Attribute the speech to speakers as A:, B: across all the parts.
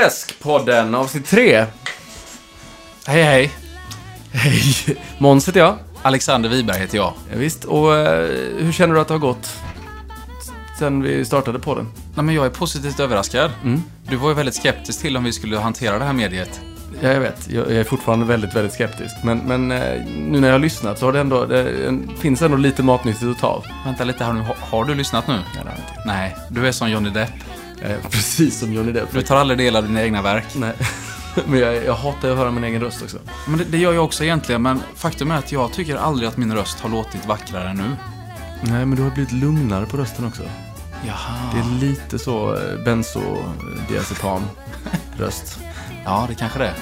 A: Chevaleresk-podden, avsnitt 3. Hej, hej. Hej. Måns heter jag.
B: Alexander Wiberg heter jag.
A: Ja, visst. och eh, hur känner du att det har gått sen vi startade podden?
B: Nej, men jag är positivt överraskad. Du var ju väldigt skeptisk till om vi skulle hantera det här mediet.
A: Ja, jag vet. Jag, jag är fortfarande väldigt, väldigt skeptisk. Men, men eh, nu när jag har lyssnat så har det ändå, det en- finns ändå lite matnyttigt att ta av.
B: Vänta lite här nu, har, har du lyssnat nu?
A: Ja, det har jag inte.
B: Nej, du är som Johnny Depp.
A: Eh, precis som Johnny Depp.
B: Du tar aldrig del av dina egna verk.
A: Nej. Men jag, jag hatar att höra min egen röst också.
B: Men det, det gör jag också egentligen, men faktum är att jag tycker aldrig att min röst har låtit vackrare än nu.
A: Nej, men du har blivit lugnare på rösten också.
B: Jaha.
A: Det är lite så eh, benzodiazepam-röst.
B: Ja, det kanske det är.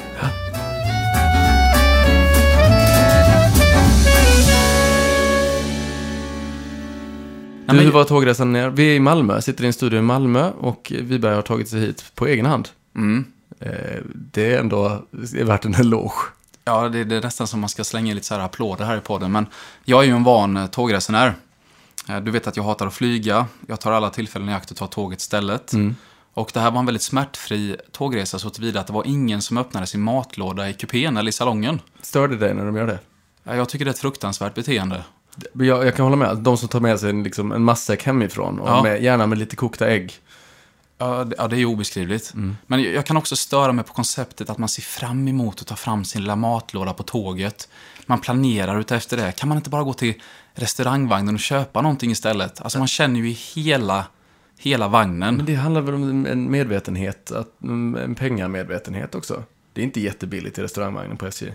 A: Du,
B: Nej,
A: hur
B: men,
A: var tågresan ner? Vi är i Malmö, sitter i en studio i Malmö och Wiberg har tagit sig hit på egen hand.
B: mm,
A: Eh, Det är ändå det är värt en eloge.
B: ja, det, det är nästan som man ska slänga lite så här applåder här i podden, men jag är ju en van eh, tågresenär. Eh, Du vet att jag hatar att flyga. Jag tar alla tillfällen i akt att ta tåget istället. Och det här var en väldigt smärtfri tågresa så tillvida att det var ingen som öppnade sin matlåda i kupén eller i salongen.
A: Stör det dig när de gör det?
B: Ja, Jag tycker det är ett fruktansvärt beteende.
A: Men Jag, jag kan hålla med, Alltså, de som tar med sig en, liksom, en matsäck hemifrån och
B: Ja.
A: med, gärna med lite kokta ägg.
B: Ja, det, ja, det är ju obeskrivligt. Men jag jag kan också störa mig på konceptet att man ser fram emot att ta fram sin lilla matlåda på tåget. Man planerar utefter det. Kan man inte bara gå till restaurangvagnen och köpa någonting istället? Alltså man känner ju i hela, hela
A: Men
B: vagnen.
A: det handlar väl om en medvetenhet, att, mm, en pengamedvetenhet också. Det är inte jättebilligt i restaurangvagnen på SJ.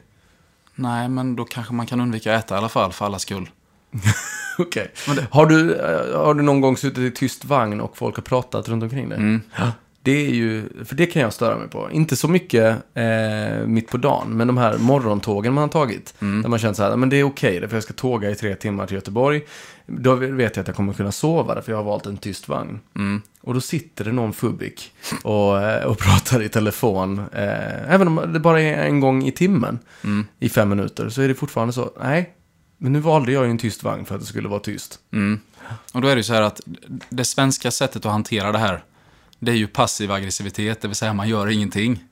B: Nej, men då kanske man kan undvika att äta i alla fall, för allas skull.
A: Okej. Har, du, eh, har du någon gång suttit i tyst vagn och folk har pratat runt omkring dig? Ja. Det är ju, för det kan jag störa mig på. Inte så mycket eh, mitt på dagen, men de här morgontågen man har tagit. Där man känner så här, men det är okej, för jag ska tåga i tre timmar till Göteborg. Då vet jag att jag kommer kunna sova, för jag har valt en tyst vagn. Och då sitter det någon fubik och, eh, och pratar i telefon. Eh, även om det bara är en gång i timmen, i fem minuter, så är det fortfarande så, nej, men nu valde jag ju en tyst vagn för att det skulle vara tyst.
B: Mm. Och då är det ju så här att det svenska sättet att hantera det här, det är ju passiv aggressivitet, det vill säga man gör ingenting.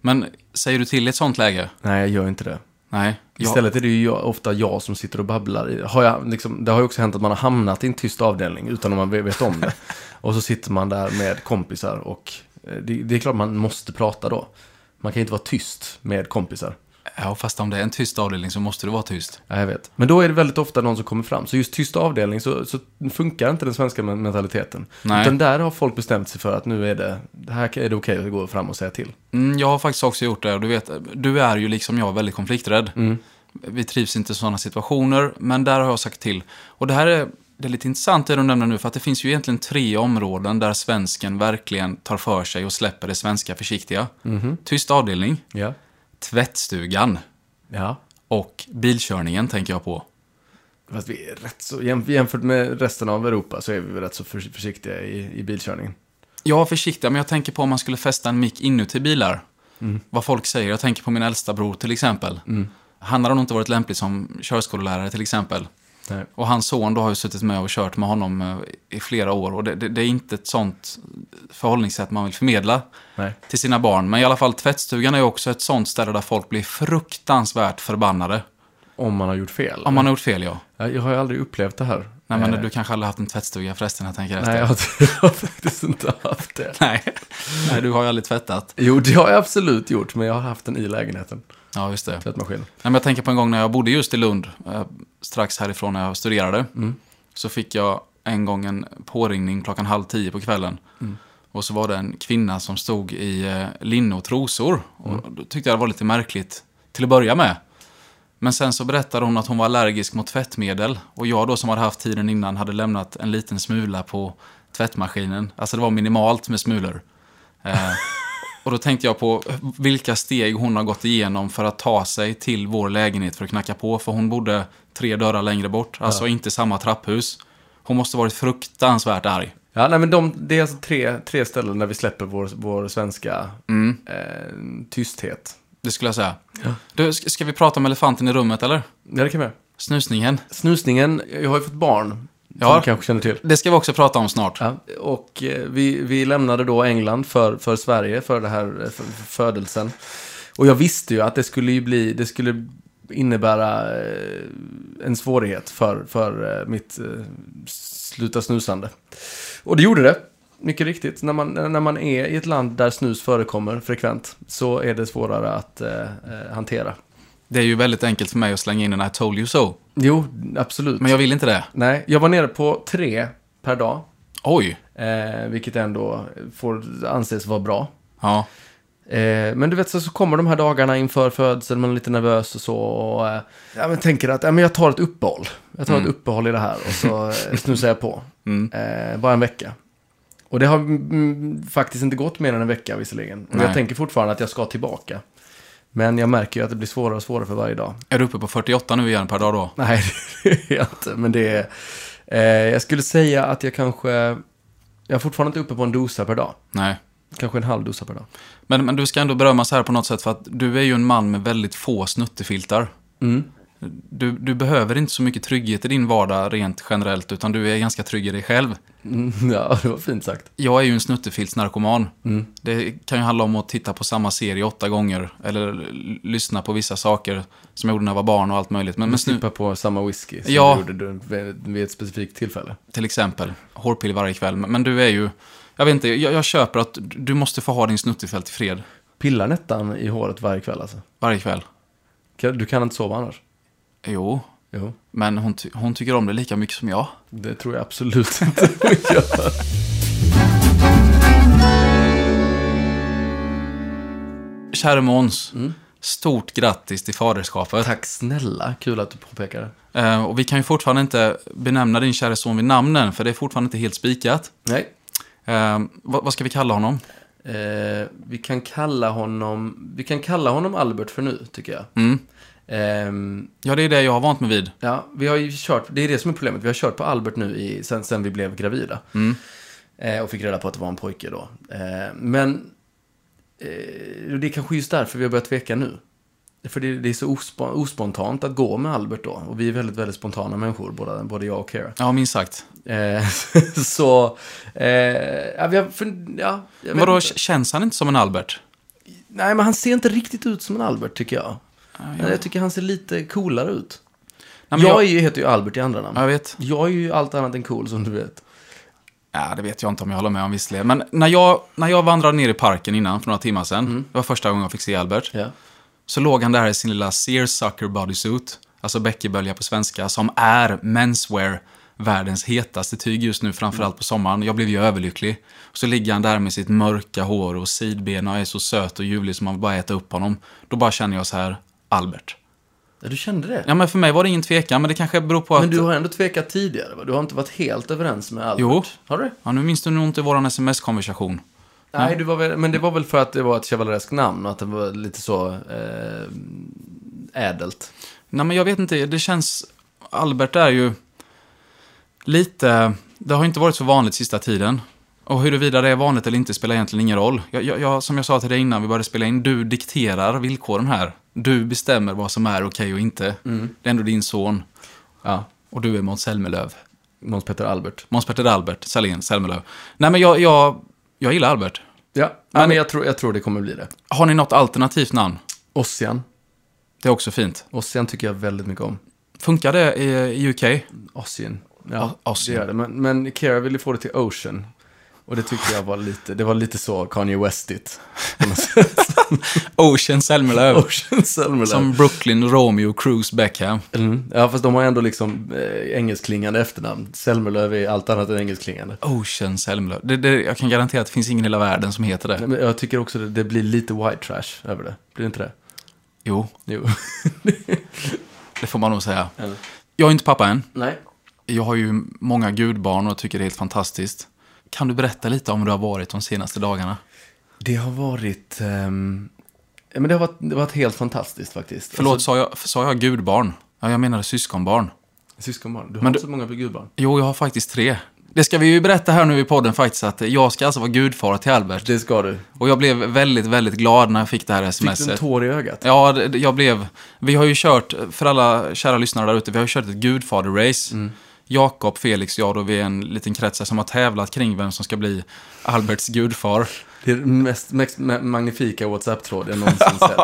B: Men säger du till i ett sånt läge?
A: Nej, jag gör inte det.
B: Nej. jag-
A: Istället är det ju jag, ofta jag som sitter och babblar. i- Har jag, liksom, det har ju också hänt att man har hamnat i en tyst avdelning utan att man ve- vet om det. och så sitter man där med kompisar och eh, det, det är klart man måste prata då. Man kan ju inte vara tyst med kompisar.
B: Ja, fast om det är en tyst avdelning så måste det vara tyst.
A: Ja, jag vet. Men då är det väldigt ofta någon som kommer fram. Så just tyst avdelning så, så funkar inte den svenska men- mentaliteten.
B: Nej.
A: Utan där har folk bestämt sig för att nu är det, det här är det okej att gå fram och säga till.
B: Mm, jag har faktiskt också gjort det. och Du, vet, du är ju liksom jag väldigt konflikträdd. Vi trivs inte i sådana situationer, men där har jag sagt till. Och det här är, det är lite intressant det du nämner nu, för att det finns ju egentligen tre områden där svensken verkligen tar för sig och släpper det svenska försiktiga. Tyst avdelning,
A: Ja.
B: tvättstugan
A: Ja.
B: och bilkörningen tänker jag på.
A: Fast vi är rätt så, jäm- jämfört med resten av Europa så är vi väl rätt så förs- försiktiga i, i bilkörningen.
B: Ja, försiktiga, men jag tänker på om man skulle fästa en mick inuti bilar.
A: Mm.
B: Vad folk säger. Jag tänker på min äldsta bror till exempel. Han har nog inte varit lämplig som körskollärare till exempel.
A: Nej.
B: Och hans son då har ju suttit med och kört med honom eh, i flera år. Och det, det, det är inte ett sånt förhållningssätt man vill förmedla
A: Nej.
B: till sina barn. Men i alla fall tvättstugan är ju också ett sånt ställe där folk blir fruktansvärt förbannade.
A: Om man har gjort fel.
B: Om man har gjort fel, ja.
A: Ja, Jag har ju aldrig upplevt det här.
B: Nej, men
A: Eh,
B: du kanske aldrig haft en tvättstuga förresten, jag tänker efter.
A: Nej, jag har, jag har faktiskt inte haft det.
B: Nej. Nej, du har ju aldrig tvättat.
A: Jo, det har jag absolut gjort, men jag har haft den i lägenheten.
B: Ja, just det.
A: Tvättmaskin.
B: Nej, men jag tänker på en gång när jag bodde just i Lund, eh, strax härifrån när jag studerade. Så fick jag en gång en påringning klockan halv tio på kvällen. Och så var det en kvinna som stod i eh, linne och trosor. Och då tyckte jag det var lite märkligt till att börja med. Men sen så berättade hon att hon var allergisk mot tvättmedel. Och jag då som hade haft tiden innan hade lämnat en liten smula på tvättmaskinen. Alltså det var minimalt med smulor. Eh, och då tänkte jag på vilka steg hon har gått igenom för att ta sig till vår lägenhet för att knacka på. För hon bodde tre dörrar längre bort, alltså inte samma trapphus. Hon måste varit fruktansvärt arg.
A: Ja, nej, men de, det är alltså tre, tre ställen där vi släpper vår, vår svenska eh, tysthet.
B: Det skulle jag säga. Du, ska ska vi prata om elefanten i rummet eller?
A: Ja, det kan vi göra.
B: Snusningen.
A: Snusningen, jag har ju fått barn. Som
B: Ja,
A: du kanske känner till.
B: det ska vi också prata om snart.
A: Ja, och eh, vi, vi lämnade då England för, för Sverige, för den här eh, för, för födelsen. Och jag visste ju att det skulle ju bli, det skulle innebära eh, en svårighet för, för eh, mitt eh, sluta snusande. Och det gjorde det. Mycket riktigt, när man, när man är i ett land där snus förekommer frekvent så är det svårare att eh, eh, hantera.
B: Det är ju väldigt enkelt för mig att slänga in en I told you so.
A: Jo, absolut.
B: Men jag vill inte det.
A: Nej, jag var nere på tre per dag,
B: Oj!
A: eh, vilket ändå får anses vara bra.
B: Ja,
A: Eh, men du vet, så, så kommer de här dagarna inför födseln, man är lite nervös och så. Och, eh, ja, men tänker att ja, men jag tar ett uppehåll. Jag tar ett uppehåll i det här och så eh, snusar jag på.
B: Mm.
A: Eh, bara en vecka. Och det har mm, faktiskt inte gått mer än en vecka visserligen. Och jag
B: Nej.
A: tänker fortfarande att jag ska tillbaka. Men jag märker ju att det blir svårare och svårare för varje dag.
B: är du uppe på 48 nu igen per dag då?
A: Nej, det är jag inte. Men det är... Eh, jag skulle säga att jag kanske... Jag är fortfarande inte uppe på en dosa per dag.
B: Nej.
A: Kanske en halv dosa per dag.
B: Men, men du ska ändå berömmas här på något sätt för att du är ju en man med väldigt få snuttefiltar.
A: Mm.
B: Du, du behöver inte så mycket trygghet i din vardag rent generellt, utan du är ganska trygg i dig själv.
A: Mm, ja, det var fint sagt.
B: Jag är ju en snuttefiltsnarkoman.
A: Mm.
B: Det kan ju handla om att titta på samma serie åtta gånger, eller l- lyssna på vissa saker som jag gjorde när jag var barn och allt möjligt. Men, men
A: Men
B: snu,
A: snippa på samma whisky som
B: Ja.
A: du gjorde vid- vid ett specifikt tillfälle.
B: till exempel, hårpill varje kväll. Men, men du är ju, jag vet inte, jag, jag köper att du måste få ha din snuttefilt i fred
A: Pillar Nettan i håret varje kväll alltså?
B: varje kväll.
A: Kan- Du kan inte sova annars?
B: Jo,
A: Jo,
B: men hon, ty- hon tycker om det lika mycket som jag.
A: det tror jag absolut inte hon gör.
B: Käre Måns, stort grattis till faderskapet.
A: Tack snälla, kul att du påpekar det.
B: Eh, och vi kan ju fortfarande inte benämna din kära son vid namnen, för det är fortfarande inte helt spikat.
A: Nej.
B: Eh, vad, vad ska vi kalla honom?
A: Eh, vi, kan kalla honom, vi kan kalla honom Albert för nu, tycker jag.
B: Mm.
A: Ehm,
B: Ja, det är det jag har vant mig vid.
A: ja, vi har ju kört, det är det som är problemet, vi har kört på Albert nu i, sen, sen vi blev gravida.
B: Mm.
A: Eh, och fick reda på att det var en pojke då. Eh, men eh, det är kanske just därför vi har börjat tveka nu. För det, det är så ospo- ospontant att gå med Albert då. Och vi är väldigt, väldigt spontana människor, både, både jag och Kara.
B: Ja, minst sagt.
A: Eh, så, eh, ja, vi har fund- ja, jag vet
B: Vadå,
A: inte.
B: k- känns han inte som en Albert?
A: Nej, men han ser inte riktigt ut som en Albert, tycker jag.
B: Ja, jag-
A: Jag, jag tycker han ser lite coolare ut.
B: Nej, men
A: jag
B: jag,
A: är ju, heter ju Albert i andra namn.
B: jag vet.
A: Jag är ju allt annat än cool, som du vet.
B: Ja, det vet jag inte om jag håller med om visserligen. Men när jag, när jag vandrade ner i parken innan, för några timmar sedan,
A: Mm.
B: det var första gången jag fick se Albert,
A: Ja.
B: så låg han där i sin lilla seersucker bodysuit, alltså bäckebölja på svenska, som är menswear världens hetaste tyg just nu, framförallt på sommaren. Jag blev ju överlycklig. Så ligger han där med sitt mörka hår och sidben och är så söt och ljuvlig som man vill bara äta upp honom. Då bara känner jag så här, Albert.
A: ja, du kände det?
B: Ja, men för mig var det ingen tvekan, men det kanske beror på att...
A: Men du har ändå tvekat tidigare, va? Du har inte varit helt överens med Albert?
B: Jo.
A: Har du?
B: Ja, nu minns du nog inte våran sms-konversation.
A: Nej, du var väl, men det var väl för att det var ett chevalereskt namn och att det var lite så eh, ädelt.
B: Nej, men jag vet inte. Det känns... Albert är ju lite... Det har inte varit så vanligt sista tiden. Och huruvida det är vanligt eller inte spelar egentligen ingen roll. Jag, jag, jag, som jag sa till dig innan vi började spela in, du dikterar villkoren här. Du bestämmer vad som är okej och inte. Det är ändå din son.
A: Ja,
B: Och du är Måns Zelmerlöw.
A: Måns Petter Albert.
B: Måns Petter Albert Sahlin Zelmerlöw. Nej, men jag, jag, jag gillar Albert.
A: Ja, men, men jag, tror, jag tror det kommer bli det.
B: Har ni något alternativt namn?
A: Ossian.
B: Det är också fint.
A: Ossian tycker jag väldigt mycket om.
B: Funkar det i, i UK?
A: Ossian. Ja,
B: O- Ossian.
A: Det gör det. Men, men Kira ville få det till Ocean. Och det tyckte jag var lite, det var lite så Kanye Westigt.
B: Ocean Zelmerlöw.
A: Ocean Selmer.
B: Som Brooklyn, Romeo, Cruise, Beckham.
A: Mm. Ja, fast de har ändå liksom eh, engelskklingande efternamn. Selmerlöv är allt annat än engelskklingande.
B: Ocean Selmlöv. Det, det, jag kan garantera att det finns ingen i hela världen som heter
A: Nej,
B: det.
A: men jag tycker också det, det blir lite white trash över det. Blir det inte det?
B: Jo,
A: Jo.
B: det får man nog säga. Jag är inte pappa än.
A: Nej.
B: Jag har ju många gudbarn och tycker det är helt fantastiskt. Kan du berätta lite om hur det har varit de senaste dagarna?
A: Det har varit... ehm, ja, men det har varit, det har varit helt fantastiskt faktiskt.
B: Förlåt, sa jag, sa jag gudbarn? Ja, jag menade syskonbarn.
A: Alltså, syskonbarn. Du har
B: Men
A: inte
B: du-
A: så många gudbarn.
B: Jo, jag har faktiskt tre. Det ska vi ju berätta här nu i podden faktiskt, att jag ska alltså vara gudfar till Albert.
A: Det ska du.
B: Och jag blev väldigt, väldigt glad när jag fick det här
A: Fick du en
B: smset.
A: tår i ögat?
B: Ja, det- det-
A: Mm.
B: jag blev... Vi har ju kört, för alla kära lyssnare där ute, vi har ju kört ett gudfader-race. Jakob, Felix, jag då, vi är en liten krets här som har tävlat kring vem som ska bli Alberts gudfar.
A: Det är den mest, mest ma- magnifika WhatsApp-tråd jag någonsin sett.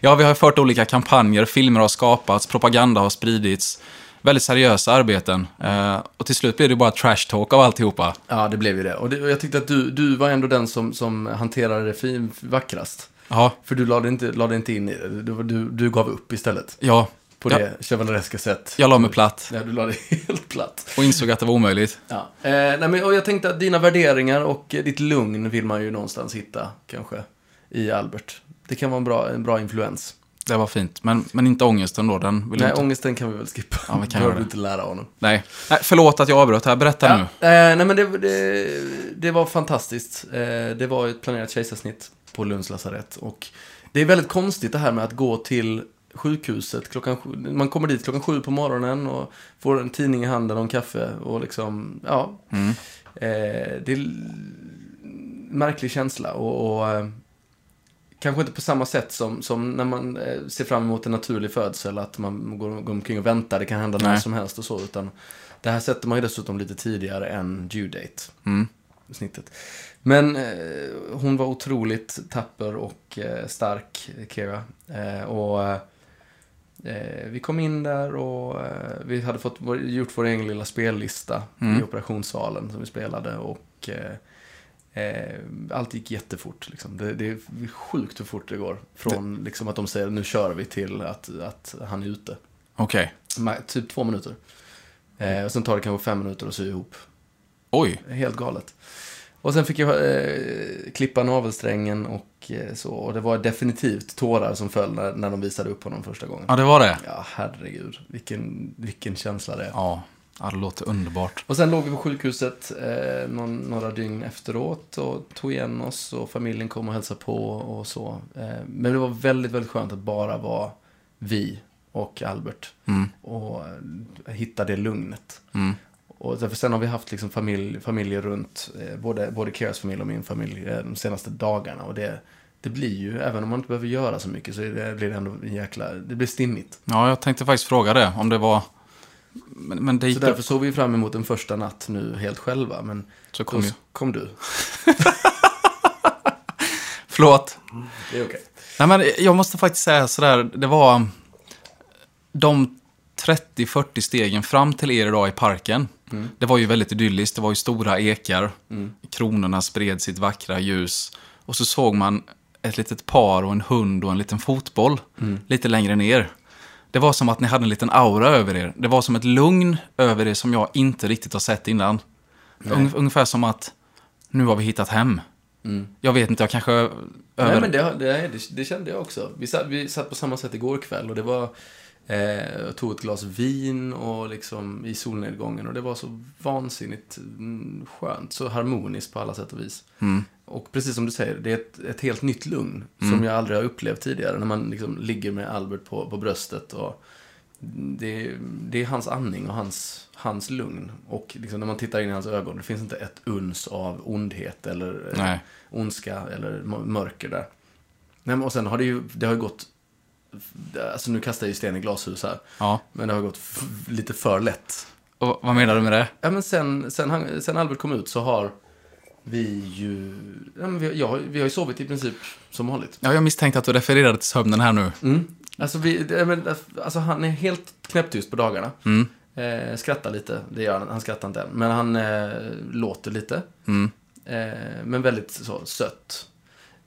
B: ja, vi har fört olika kampanjer, filmer har skapats, propaganda har spridits. Väldigt seriösa arbeten. Eh, och till slut blir det bara trash talk av alltihopa.
A: Ja, det blev ju det. Och, det, och jag tyckte att du, du var ändå den som, som hanterade det fin, vackrast.
B: Ja,
A: För du lade inte, lade inte in i det. Du, du, du gav upp istället.
B: ja.
A: På
B: Ja.
A: det chevalereska sätt.
B: Jag la mig platt
A: Ja, du lade det helt platt.
B: och insåg att det var omöjligt.
A: Ja. Eh, nej, men, och jag tänkte att dina värderingar och eh, ditt lugn vill man ju någonstans hitta, kanske, i Albert. Det kan vara en bra, en bra influens.
B: Det var fint, men, men inte ångesten då. Den vill jag
A: Nej,
B: inte...
A: ångesten kan vi väl skippa.
B: Ja, vi kan
A: Behöver
B: göra
A: du
B: det.
A: inte lära honom.
B: Nej. Nej, förlåt att jag avbröt här. Berätta nu.
A: Eh, nej, men det, det, det var fantastiskt. Eh, det var ett planerat kejsarsnitt på Lunds lasarett. Och det är väldigt konstigt det här med att gå till sjukhuset klockan sju. Man kommer dit klockan sju på morgonen och får en tidning i handen och en kaffe. Och liksom, ja.
B: Mm.
A: Eh, det är l- märklig känsla och, och eh, kanske inte på samma sätt som, som när man eh, ser fram emot en naturlig födsel, att man går, går omkring och väntar, det kan hända när
B: Nej.
A: som helst och så, utan det här sätter man ju dessutom lite tidigare än due date,
B: Mm.
A: snittet. Men eh, hon var otroligt tapper och eh, stark, Kira. Eh, och eh, Eh, vi kom in där och eh, vi hade fått vår, gjort vår egen lilla spellista
B: Mm.
A: i operationssalen som vi spelade och eh, eh, allt gick jättefort. Liksom. Det, det är sjukt hur fort det går. Från liksom, att de säger nu kör vi till att, att han är ute.
B: Okej.
A: Ma- Typ två minuter. Eh, och sen tar det kanske fem minuter att sy ihop.
B: Oj.
A: Helt galet. Och sen fick jag eh, klippa navelsträngen och eh, så. Och det var definitivt tårar som föll när, när de visade upp honom första gången.
B: Ja, det var det.
A: Ja, herregud. Vilken, vilken känsla det är.
B: Ja, ja det låter underbart.
A: Och sen låg vi på sjukhuset eh, någon, några dygn efteråt och tog igen oss och familjen kom och hälsade på och så. Eh, men det var väldigt, väldigt skönt att bara vara vi och Albert
B: Mm.
A: och eh, hitta det lugnet.
B: Mm.
A: Och därför sen har vi haft liksom familj, familjer runt, eh, både, både Kiras familj och min familj, eh, de senaste dagarna. Och det, det blir ju, även om man inte behöver göra så mycket, så är det, blir det ändå en jäkla, det blir stimmigt.
B: Ja, jag tänkte faktiskt fråga det. Om det var... Men, men det gick
A: Så därför såg vi fram emot en första natt nu helt själva, men
B: så
A: kom,
B: kom ju...
A: kom du.
B: Förlåt.
A: Det är okej.
B: Nej, men jag måste faktiskt säga sådär, det var... De 30-40 stegen fram till er idag i parken,
A: Mm.
B: det var ju väldigt idylliskt. Det var ju stora ekar, kronorna spred sitt vackra ljus. Och så såg man ett litet par och en hund och en liten fotboll
A: Mm.
B: lite längre ner. Det var som att ni hade en liten aura över er. Det var som ett lugn över er som jag inte riktigt har sett innan. Ungef- Ungefär som att nu har vi hittat hem. Jag vet inte, jag kanske ö- Mm. över...
A: Nej, men det, det, det, det kände jag också. Vi satt, vi satt på samma sätt igår kväll och det var, eh, jag tog ett glas vin och liksom i solnedgången och det var så vansinnigt mm, skönt, så harmoniskt på alla sätt och vis.
B: Mm.
A: Och precis som du säger, det är ett, ett helt nytt lugn som jag aldrig har upplevt tidigare. När man liksom ligger med Albert på, på bröstet och det, det är hans andning och hans, hans lugn. Och liksom när man tittar in i hans ögon, det finns inte ett uns av ondhet eller eh,
B: Nej.
A: ondska eller m- mörker där. Nej, men och sen har det ju, det har ju gått, alltså nu kastar jag ju sten i glashus här,
B: Ja.
A: men det har gått f- lite för lätt.
B: Och vad menar du med det?
A: Ja, men sen, sen, han, sen Albert kom ut så har vi ju, ja, men vi, ja, vi har ju sovit i princip som vanligt.
B: Ja, jag misstänkte att du refererade till sömnen här nu.
A: Mm. Alltså, vi, det- ja, men, alltså han är helt knäpptyst på dagarna.
B: Mm.
A: Eh, skrattar lite, det gör han, han skrattar inte än, men han eh, låter lite.
B: Mm.
A: Eh, men väldigt så sött.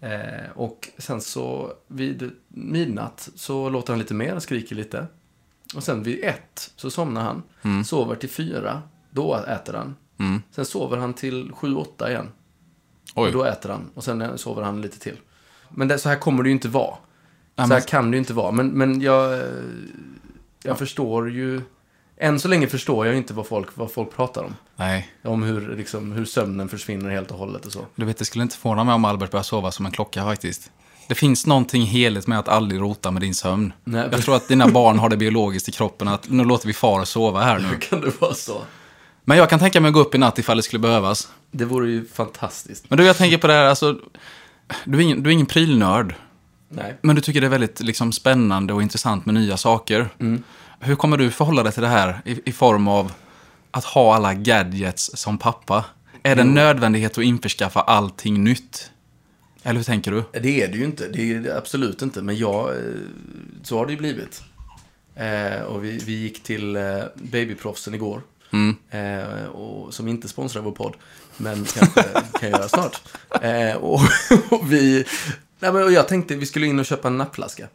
A: Eh, och sen så vid midnatt så låter han lite mer, skriker lite. Och sen vid ett så somnar han.
B: Mm.
A: Sover till fyra, då äter han.
B: Mm.
A: Sen sover han till sju, åtta igen.
B: Oj.
A: Och då äter han. Och sen sover han lite till. Men det, så här kommer det ju inte vara.
B: Nej,
A: så här
B: men-
A: kan det ju inte vara. Men, men jag, eh, jag förstår ju... Än så länge förstår jag ju inte vad folk, vad folk pratar om.
B: Nej,
A: Om hur, liksom, hur sömnen försvinner helt och hållet och så.
B: du vet, det skulle inte förvåna mig om Albert börjar sova som en klocka faktiskt. Det finns någonting heligt med att aldrig rota med din sömn.
A: Nej,
B: Jag tror att dina barn har det biologiskt i kroppen att nu låter vi far sova här nu.
A: Kan det vara så?
B: Men jag kan tänka mig att gå upp i natt ifall det skulle behövas.
A: Det vore ju fantastiskt.
B: Men du, jag tänker på det här, alltså, du är ingen, du är ingen prylnörd.
A: Nej.
B: Men du tycker det är väldigt liksom, spännande och intressant med nya saker. Hur kommer du förhålla dig till det här i, i form av att ha alla gadgets som pappa? Är det en nödvändighet att införskaffa allting nytt? Eller hur tänker du?
A: Det är det ju inte. Det är det absolut inte. Men jag, eh, så har det ju blivit. Eh, och vi, vi gick till eh, Babyproffsen igår. Eh, och, som inte sponsrar vår podd. Men kanske kan göra snart. Eh, och, och vi... Nej, men, och jag tänkte vi skulle in och köpa en nappflaska.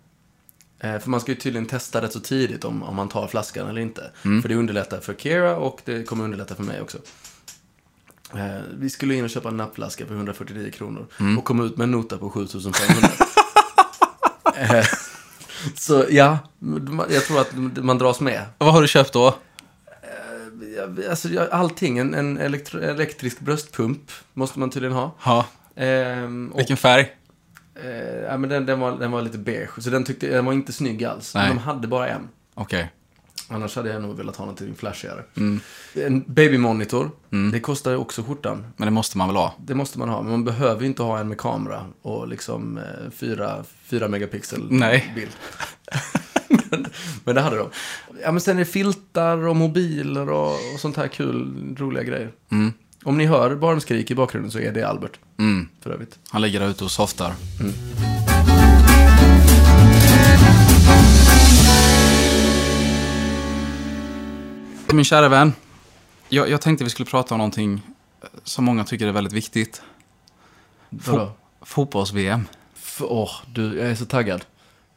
A: Eh, för man ska ju tydligen testa rätt så tidigt om, om man tar flaskan eller inte. För det underlättar för Kira och det kommer underlätta för mig också. Eh, vi skulle in och köpa en nappflaska för 149 kronor och kom ut med en nota på 7500. eh, så ja, jag tror att man dras med.
B: Vad har du köpt då?
A: Jag- Alltså, jag- allting, en, en elektro, elektrisk bröstpump måste man tydligen ha.
B: Ja,
A: Ehm, och,
B: vilken färg?
A: eh, ja, men den, den, var, den var lite beige, så den, tyckte, den var inte snygg alls.
B: Nej.
A: Men de hade bara en.
B: Okej.
A: Annars hade jag nog velat ha någonting flashigare. En babymonitor, det kostar ju också skjortan.
B: Men det måste man väl ha?
A: Det måste man ha, men man behöver ju inte ha en med kamera och liksom eh, fyra, fyra megapixel
B: Nej.
A: bild. men, men det hade de. Ja, men sen är det filtar och mobiler och, och sånt här kul, roliga grejer. Om ni hör barnskrik i bakgrunden så är det Albert,
B: Mm.
A: för övrigt.
B: Han ligger där ute och softar. Min kära vän, jag, jag tänkte vi skulle prata om någonting eh, som många tycker är väldigt viktigt. Fo-
A: Vadå?
B: Fotbolls-VM.
A: F- Åh, du, jag är så taggad.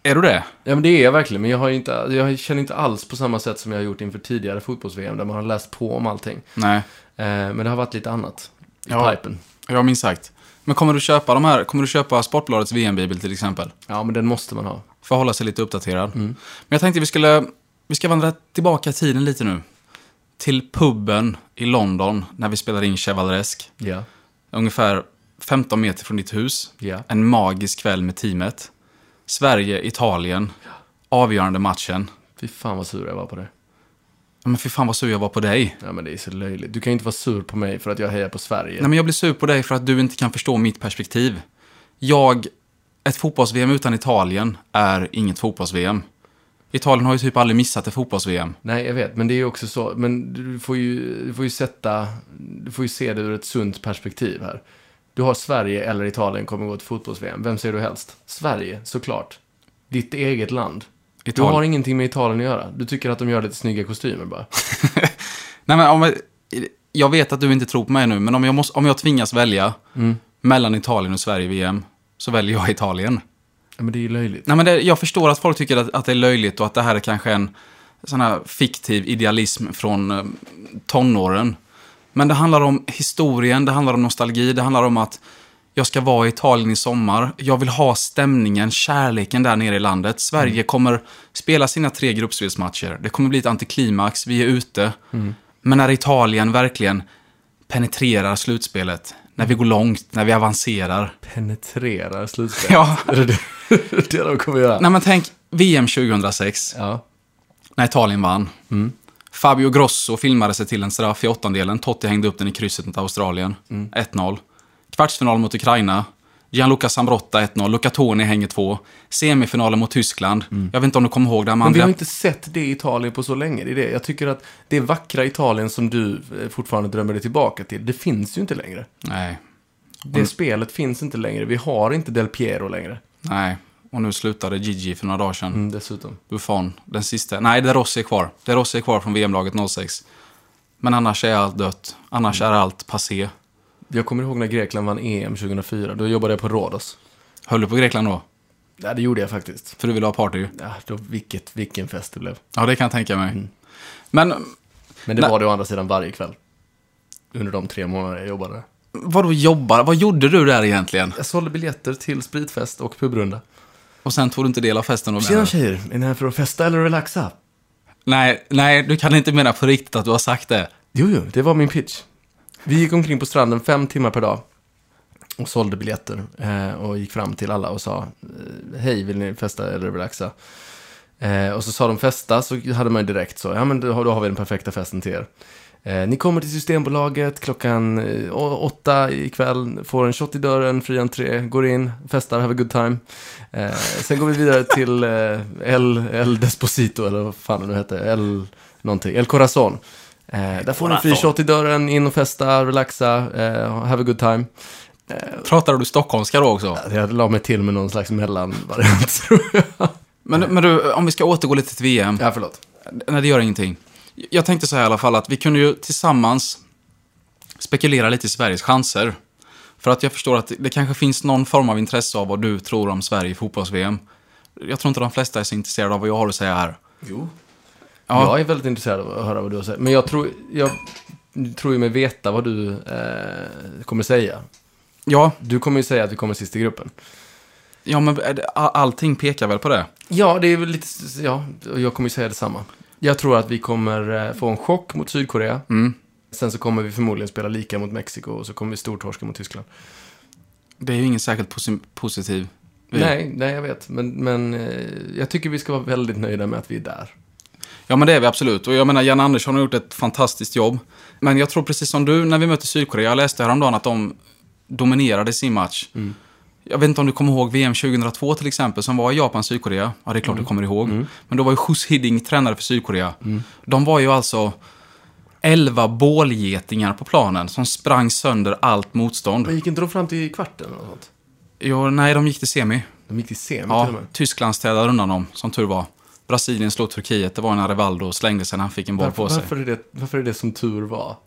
B: Är du det?
A: Ja, men det är jag verkligen, men jag, har ju inte, jag känner inte alls på samma sätt som jag har gjort inför tidigare fotbolls-VM, där man har läst på om allting.
B: Nej.
A: Eh, men det har varit lite annat i
B: Ja.
A: pipen.
B: Ja, minst sagt. Men kommer du köpa de här, kommer du köpa Sportbladets VM-bibel till exempel?
A: Ja, men den måste man ha.
B: För att hålla sig lite uppdaterad. Men jag tänkte vi skulle, vi ska vandra tillbaka i tiden lite nu. Till puben i London när vi spelade in Chevaleresk.
A: Ja.
B: Ungefär 15 meter från ditt hus.
A: Ja.
B: En magisk kväll med teamet. Sverige, Italien. Avgörande matchen.
A: Fy fan vad sur jag var på det.
B: Ja, men fy fan vad sur jag var på dig.
A: Ja men det är så löjligt. Du kan ju inte vara sur på mig för att jag hejar på Sverige.
B: Nej, men jag blir sur på dig för att du inte kan förstå mitt perspektiv. Jag, ett fotbolls-VM utan Italien är inget fotbolls-VM. Italien har ju typ aldrig missat ett fotbolls-VM.
A: Nej, jag vet. Men det är ju också så. Men du får ju, du får ju sätta, du får ju se det ur ett sunt perspektiv här. Du har Sverige eller Italien kommer gå till fotbolls-VM. Vem ser du helst? Sverige, såklart. Ditt eget land. Du
B: Italien.
A: har ingenting med Italien att göra. Du tycker att de gör lite snygga kostymer bara.
B: Nej, men om jag, jag vet att du inte tror på mig nu, men om jag, måste, om jag tvingas välja mellan Italien och Sverige i VM, så väljer jag Italien.
A: Ja, men det är ju löjligt.
B: Nej, men det, jag förstår att folk tycker att, att det är löjligt och att det här är kanske en sån här fiktiv idealism från eh, tonåren. Men det handlar om historien, det handlar om nostalgi, det handlar om att jag ska vara i Italien i sommar. Jag vill ha stämningen, kärleken där nere i landet. Sverige kommer spela sina tre gruppspelsmatcher. Det kommer bli ett antiklimax, vi är ute. Men när Italien verkligen penetrerar slutspelet, när vi går långt, när vi avancerar.
A: Penetrerar slutspelet.
B: Ja.
A: Är det det- det de kommer göra?
B: Nej men tänk VM 2006.
A: Ja.
B: när Italien vann. Fabio Grosso filmade sig till en straff i åttondelen. Totti hängde upp den i krysset mot Australien. 1-0. Kvartsfinal mot Ukraina. Gianluca Zambrotta 1-0. Luca Toni hänger 2. Semifinalen mot Tyskland. Jag vet inte om du kommer ihåg det,
A: Men vi har
B: Amanda.
A: inte sett det Italien på så länge. Det är det. Jag tycker att det vackra Italien som du eh, fortfarande drömmer dig tillbaka till, det finns ju inte längre.
B: Nej,
A: Det spelet finns inte längre. Vi har inte Del Piero längre.
B: nej. Och nu slutade Gigi för några dagar sedan.
A: Mm, dessutom.
B: Buffon, den sista. Nej, De Rossi är kvar. De Rossi är kvar från VM-laget 06. Men annars är allt dött. Annars är allt passé.
A: Jag kommer ihåg när Grekland vann EM 2004. Då jobbade jag på Rhodos.
B: Höll du på Grekland då?
A: Ja, det gjorde jag faktiskt.
B: För du ville ha party?
A: Ja, då, vilket, vilken fest det blev.
B: Ja, det kan jag tänka mig. Mm. Men
A: Men det
B: Nej.
A: var det å andra sidan varje kväll. Under de tre månader jag jobbade.
B: Vadå jobbar? Vad gjorde du där egentligen?
A: Jag sålde biljetter till spritfest och pubrunda.
B: Och sen tog du inte del av festen och
A: Tjena tjejer, är ni här för att festa eller relaxa?
B: Nej, nej, du kan inte mena på riktigt att du har sagt det.
A: Jo, jo, det var min pitch. Vi gick omkring på stranden fem timmar per dag och sålde biljetter eh, och gick fram till alla och sa eh, hej, vill ni festa eller relaxa? Eh, och så sa de festa, så hade man ju direkt så, ja men då, har- då har vi den perfekta festen till er. Eh, ni kommer till Systembolaget klockan eh, å- åtta ikväll, får en shot i dörren, fri entré, går in, festar, have a good time. Eh, sen går vi vidare till eh, El, El Desposito, eller vad fan det nu hette, El någonting, El Corazon. Eh, där får ni fri shot i dörren, in och festa, relaxa, eh, have a good time.
B: Pratar du stockholmska då också?
A: Jag la mig till med någon slags mellanvariant, tror jag.
B: Men, men du, om vi ska återgå lite till VM.
A: Ja, förlåt.
B: Nej, det gör ingenting. Jag tänkte så här i alla fall att vi kunde ju tillsammans spekulera lite i Sveriges chanser. För att jag förstår att det kanske finns någon form av intresse av vad du tror om Sverige i fotbolls-VM. Jag tror inte de flesta är så intresserade av vad jag har att säga här.
A: Jo.
B: Ja.
A: Jag är väldigt intresserad av att höra vad du har sagt. Men jag tror, jag tror ju mig veta vad du eh, kommer säga.
B: Ja,
A: Du kommer ju säga att vi kommer sist i gruppen.
B: ja men är det- all- allting pekar väl på det.
A: Ja, det är väl lite, ja, och jag kommer ju säga detsamma. Jag tror att vi kommer eh, få en chock mot Sydkorea.
B: Mm.
A: Sen så kommer vi förmodligen spela lika mot Mexiko och så kommer vi stortorska mot Tyskland.
B: Det är ju ingen särskilt posi- positiv... vy.
A: Nej, nej jag vet. Men, men eh, jag tycker vi ska vara väldigt nöjda med att vi är där.
B: Ja, men det är vi absolut. Och jag menar, Jan Andersson har gjort ett fantastiskt jobb. Men jag tror precis som du, när vi mötte Sydkorea, jag läste häromdagen att de dominerade sin match.
A: Mm.
B: Jag vet inte om du kommer ihåg VM 2002 till exempel, som var i Japan, Sydkorea. Ja, det är klart
A: Mm.
B: du kommer ihåg. Men då var ju Hus Hiddink tränare för Sydkorea. De var ju alltså 11 bålgetingar på planen som sprang sönder allt motstånd.
A: Men gick inte de fram till kvarten eller något sånt?
B: Jo, nej, de gick till semi.
A: De gick till semi
B: Ja,
A: till och med.
B: Tyskland städade undan dem, som tur var. Brasilien slog Turkiet, det var när Rivaldo slängde sig när han fick en boll
A: Varför,
B: på sig.
A: varför, är det, varför är det som tur var?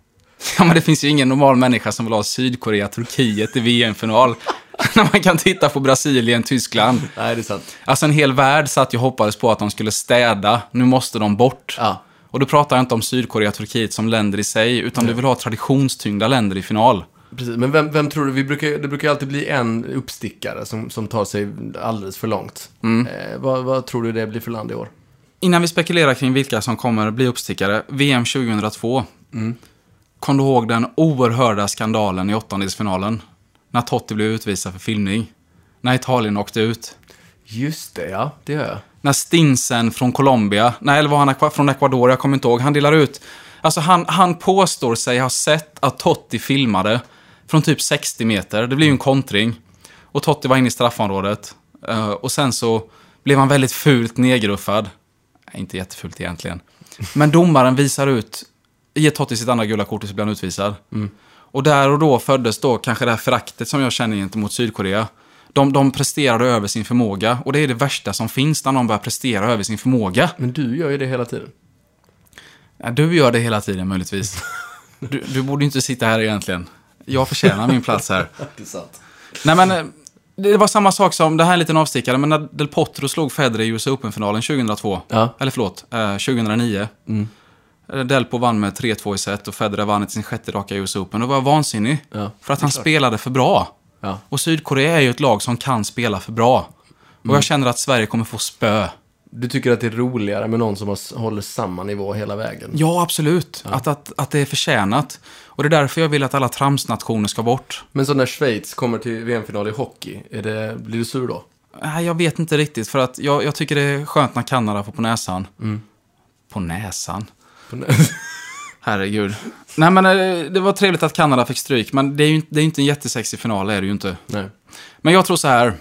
B: Ja, men det finns ju ingen normal människa som vill ha Sydkorea-Turkiet i VM-final. När man kan titta på Brasilien, Tyskland.
A: Nej, det är sant.
B: Alltså en hel värld satt ju och hoppades på att de skulle städa. Nu måste de bort.
A: Ja.
B: Och då pratar jag inte om Sydkorea och Turkiet som länder i sig, utan du vill ha traditionstyngda länder i final.
A: Precis, men vem, vem tror du? Vi brukar, det brukar ju alltid bli en uppstickare som, som tar sig alldeles för långt. Eh, vad, vad tror du det blir för land i år?
B: Innan vi spekulerar kring vilka som kommer bli uppstickare, VM 2002. Kom du ihåg den oerhörda skandalen i åttondelsfinalen? När Totti blev utvisad för filmning. När Italien åkte ut.
A: Just det, ja. Det gör jag.
B: När Stinsen från Colombia, nej eller var han Equa- från Ecuador, jag kommer inte ihåg, han delar ut. Alltså han, han påstår sig ha sett att Totti filmade från typ 60 meter, det blir ju en kontring. Och Totti var inne i straffområdet. Eh, och sen så blev han väldigt fult nedgruffad. Nej, inte jättefult egentligen. Men domaren visar ut, ger Totti sitt andra gula kort och så blir han utvisad. Och där och då föddes då kanske det här föraktet som jag känner gentemot Sydkorea. De, de presterade över sin förmåga och det är det värsta som finns när någon börjar prestera över sin förmåga.
A: Men du gör ju det hela tiden.
B: Ja, Du gör det hela tiden möjligtvis. Du, du borde ju inte sitta här egentligen. Jag förtjänar min plats här.
A: Det är sant.
B: Nej men, eh, det var samma sak som, det här är en liten avstickare, men när Del Potro slog Federer i USA Open-finalen 2002.
A: Ja. Mm.
B: Eller förlåt, eh, 2009. Eh, Delpo vann med 3-2 i set och Federer vann till sin sjätte raka US Open. Då var jag vansinnig.
A: Ja,
B: för att han spelade för bra.
A: Ja.
B: Och Sydkorea är ju ett lag som kan spela för bra. Och
A: Mm.
B: jag känner att Sverige kommer få spö.
A: Du tycker att det är roligare med någon som har, håller samma nivå hela vägen?
B: Ja, absolut. Att, att, att det är förtjänat. Och det är därför jag vill att alla tramsnationer ska bort.
A: Men så när Schweiz kommer till VM-final i hockey, är det, blir du sur då?
B: Nej, jag vet inte riktigt. För att jag, jag tycker det är skönt när Kanada får på näsan. På näsan? Herregud. Nej, men eh, det var trevligt att Kanada fick stryk. Men det är ju inte, det är ju inte en jättesexig final, det är det ju inte.
A: Nej.
B: Men jag tror så här.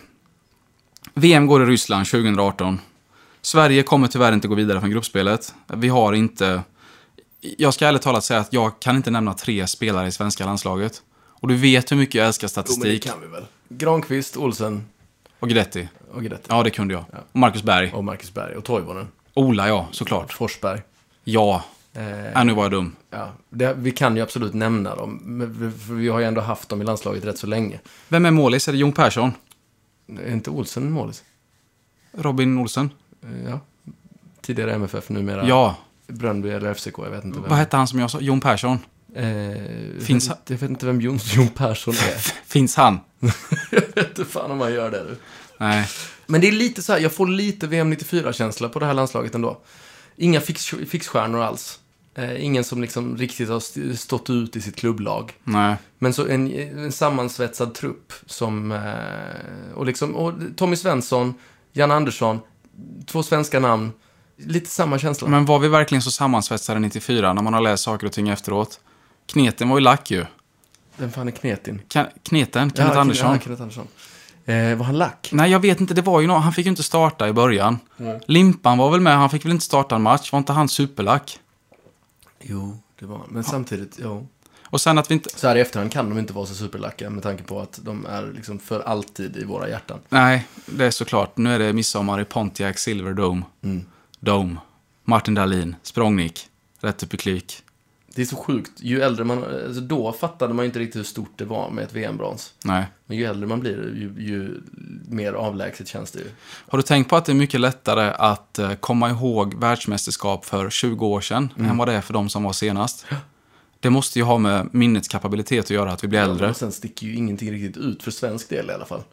B: VM går i Ryssland 2018. Sverige kommer tyvärr inte gå vidare från gruppspelet. Vi har inte... Jag ska ärligt talat säga att jag kan inte nämna tre spelare i svenska landslaget. Och du vet hur mycket jag älskar statistik.
A: vi väl? Granqvist, Olsen
B: och Gretti.
A: och Gretti.
B: Ja, det kunde jag. Och Marcus Berg.
A: Och Marcus Berg och Toivonen.
B: Ola, ja, såklart.
A: Forsberg.
B: Ja.
A: Eh,
B: Äh, nu var jag dum.
A: ja. det, vi kan ju absolut nämna dem, men vi, för vi har ju ändå haft dem i landslaget rätt så länge.
B: Vem är målis? Är det Jon Persson?
A: Är inte Olsen målis?
B: Robin Olsen?
A: Eh, Ja. Tidigare MFF, numera
B: Ja.
A: Bröndby eller FCK, jag vet inte vem.
B: Vad hette han som jag sa? Jon Persson?
A: Eh,
B: Finns
A: jag, vet, jag vet inte vem Jon, Jon Persson är.
B: Finns han?
A: jag vet inte fan om han gör det. du.
B: Nej.
A: Men det är lite så här, jag får lite VM 94-känsla på det här landslaget ändå. Inga fix, fixstjärnor alls. Eh, ingen som liksom riktigt har st- stått ut i sitt klubblag.
B: Nej.
A: Men så en, en sammansvetsad trupp som... Eh, och liksom, och Tommy Svensson, Jan Andersson, två svenska namn. Lite samma känsla.
B: Men var vi verkligen så sammansvetsade 94 när man har läst saker och ting efteråt? Kneten var ju lack ju.
A: Vem fan är Knetin?
B: Kan, kneten, Kenneth
A: Ja,
B: Andersson.
A: Ja, Kenneth Andersson. Eh, var han lack?
B: Nej, jag vet inte. Det var ju någon, han fick ju inte starta i början. Limpan var väl med, han fick väl inte starta en match. Var inte han superlack?
A: Jo, Det var han. Men samtidigt, ja.
B: Och sen att vi inte...
A: Så här i efterhand kan de inte vara så superlacka med tanke på att de är liksom för alltid i våra hjärtan.
B: Nej, det är såklart. Nu är det midsommar i Pontiac Silverdome.
A: Mm.
B: Dome. Martin Dahlin. Språngnick. Rätt upp i klyk.
A: Det är så sjukt. Ju äldre man... Alltså då fattade man ju inte riktigt hur stort det var med ett VM-brons.
B: Nej.
A: Men ju äldre man blir, ju, ju mer avlägset känns det ju.
B: Har du tänkt på att det är mycket lättare att eh, komma ihåg världsmästerskap för 20 år sedan
A: Mm.
B: än vad det är för de som var senast? Det måste ju ha med minnets kapabilitet att göra, att vi blir äldre.
A: Och sen sticker ju ingenting riktigt ut för svensk del i alla fall.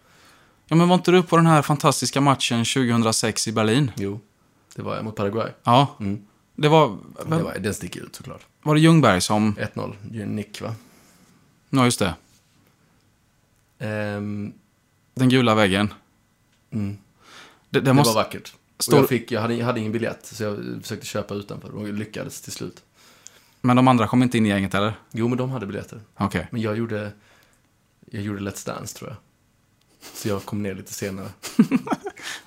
B: Ja, men var inte du på den här fantastiska matchen 2006 i Berlin?
A: Jo, det var jag mot Paraguay.
B: Ja.
A: Mm.
B: Det var...
A: Det
B: Vem,
A: var, den sticker ut såklart.
B: var det Ljungberg som...
A: 1-0, ju en nick va?
B: Ja, just det.
A: Ehm,
B: Den gula väggen.
A: mm.
B: Det, det,
A: Det
B: måste...
A: var vackert.
B: Står-
A: Och jag, fick, jag, hade, jag hade ingen biljett, så jag försökte köpa utanför och lyckades till slut.
B: Men de andra kom inte in i gänget, eller?
A: Jo, men de hade biljetter.
B: Okej.
A: Men jag gjorde, jag gjorde Let's Dance tror jag. Så jag kom ner lite senare.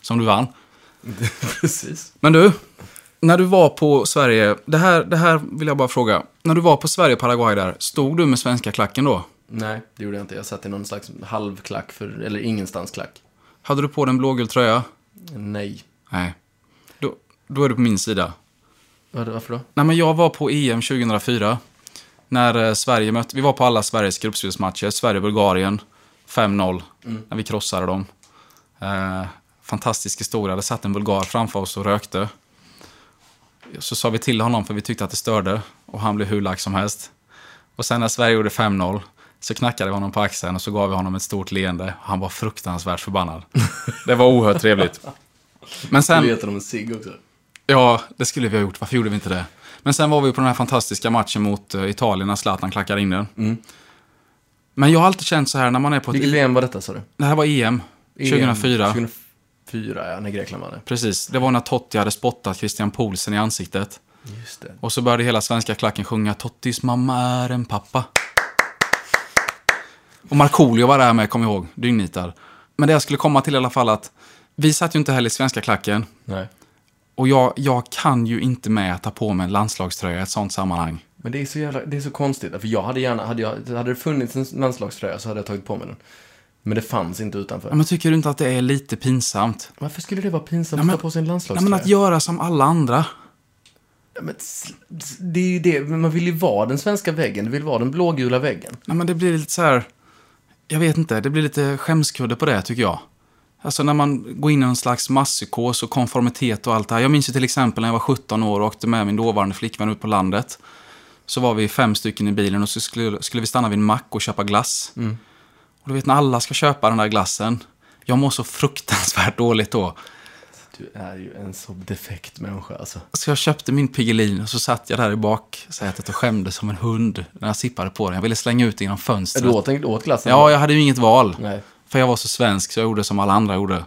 B: Som du vann.
A: Precis.
B: Men du, när du var på Sverige, det här, det här vill jag bara fråga. När du var på Sverige och Paraguay där, stod du med svenska klacken då?
A: Nej, det gjorde jag inte. Jag satt i någon slags halvklack, för, eller ingenstansklack.
B: Hade du på dig en blågul tröja?
A: Nej.
B: Nej. Då, då är du på min sida.
A: Vad- Varför då?
B: Nej, men jag var på EM 2004. När eh, Sverige mötte... Vi var på alla Sveriges gruppspelsmatcher. Sverige-Bulgarien. 5-0. När vi krossade dem. Eh, fantastisk historia. Det satt en bulgar framför oss och rökte. Så sa vi till honom för vi tyckte att det störde. Och han blev hur lack som helst. Och sen när Sverige gjorde 5-0 så knackade vi honom på axeln och så gav vi honom ett stort leende. Han var fruktansvärt förbannad. Det var oerhört trevligt. Men sen...
A: Du vet om en cigg också.
B: Ja, det skulle vi ha gjort. Varför gjorde vi inte det? Men sen var vi på den här fantastiska matchen mot eh, Italien när Zlatan klackade in den. Men jag har alltid känt så här när man är på ett...
A: Vilket VM var detta sa du?
B: Det här var E EM, 2004.
A: 2004, ja, när Grekland vann det.
B: Precis, det var när Totti hade spottat Christian Poulsen i ansiktet.
A: Just det.
B: Och så började hela svenska klacken sjunga Tottis mamma är en pappa. Och Markoolio var där med, kom ihåg, dygnitad. Men det jag skulle komma till i alla fall att vi satt ju inte heller i svenska klacken.
A: Nej.
B: Och jag, jag kan ju inte med att ta på mig en landslagströja i ett sånt sammanhang.
A: Men det är så jävla, det är så konstigt. För jag hade gärna, hade, jag, hade det funnits en landslagströja så hade jag tagit på mig den. Men det fanns inte utanför.
B: Ja, men tycker du inte att det är lite pinsamt?
A: Varför skulle det vara pinsamt
B: Nej, men-
A: att ta på sig en
B: Nej,
A: landslagströja?
B: men att göra som alla andra.
A: Ja, men s- s- det är ju det, men man vill ju vara den svenska väggen, du vill vara den blågula väggen.
B: Nej, men det blir lite så här... Jag vet inte, det blir lite skämskudde på det tycker jag. Alltså när man går in i en slags masspsykos och konformitet och allt det här. Jag minns ju till exempel när jag var 17 år och åkte med min dåvarande flickvän ut på landet. Så var vi fem stycken i bilen och så skulle, skulle vi stanna vid en mack och köpa glass. Och du vet när alla ska köpa den där glassen. Jag mår så fruktansvärt dåligt då.
A: Du är ju en så defekt människa alltså.
B: Så jag köpte min Piggelin och så satt jag där i baksätet och skämde som en hund när jag sippade på den. Jag ville slänga ut den genom
A: Är du
B: fönstret.
A: åt, du åt glassen?
B: Ja, jag hade ju inget val.
A: Nej.
B: För jag var så svensk så jag gjorde som alla andra gjorde. Nej,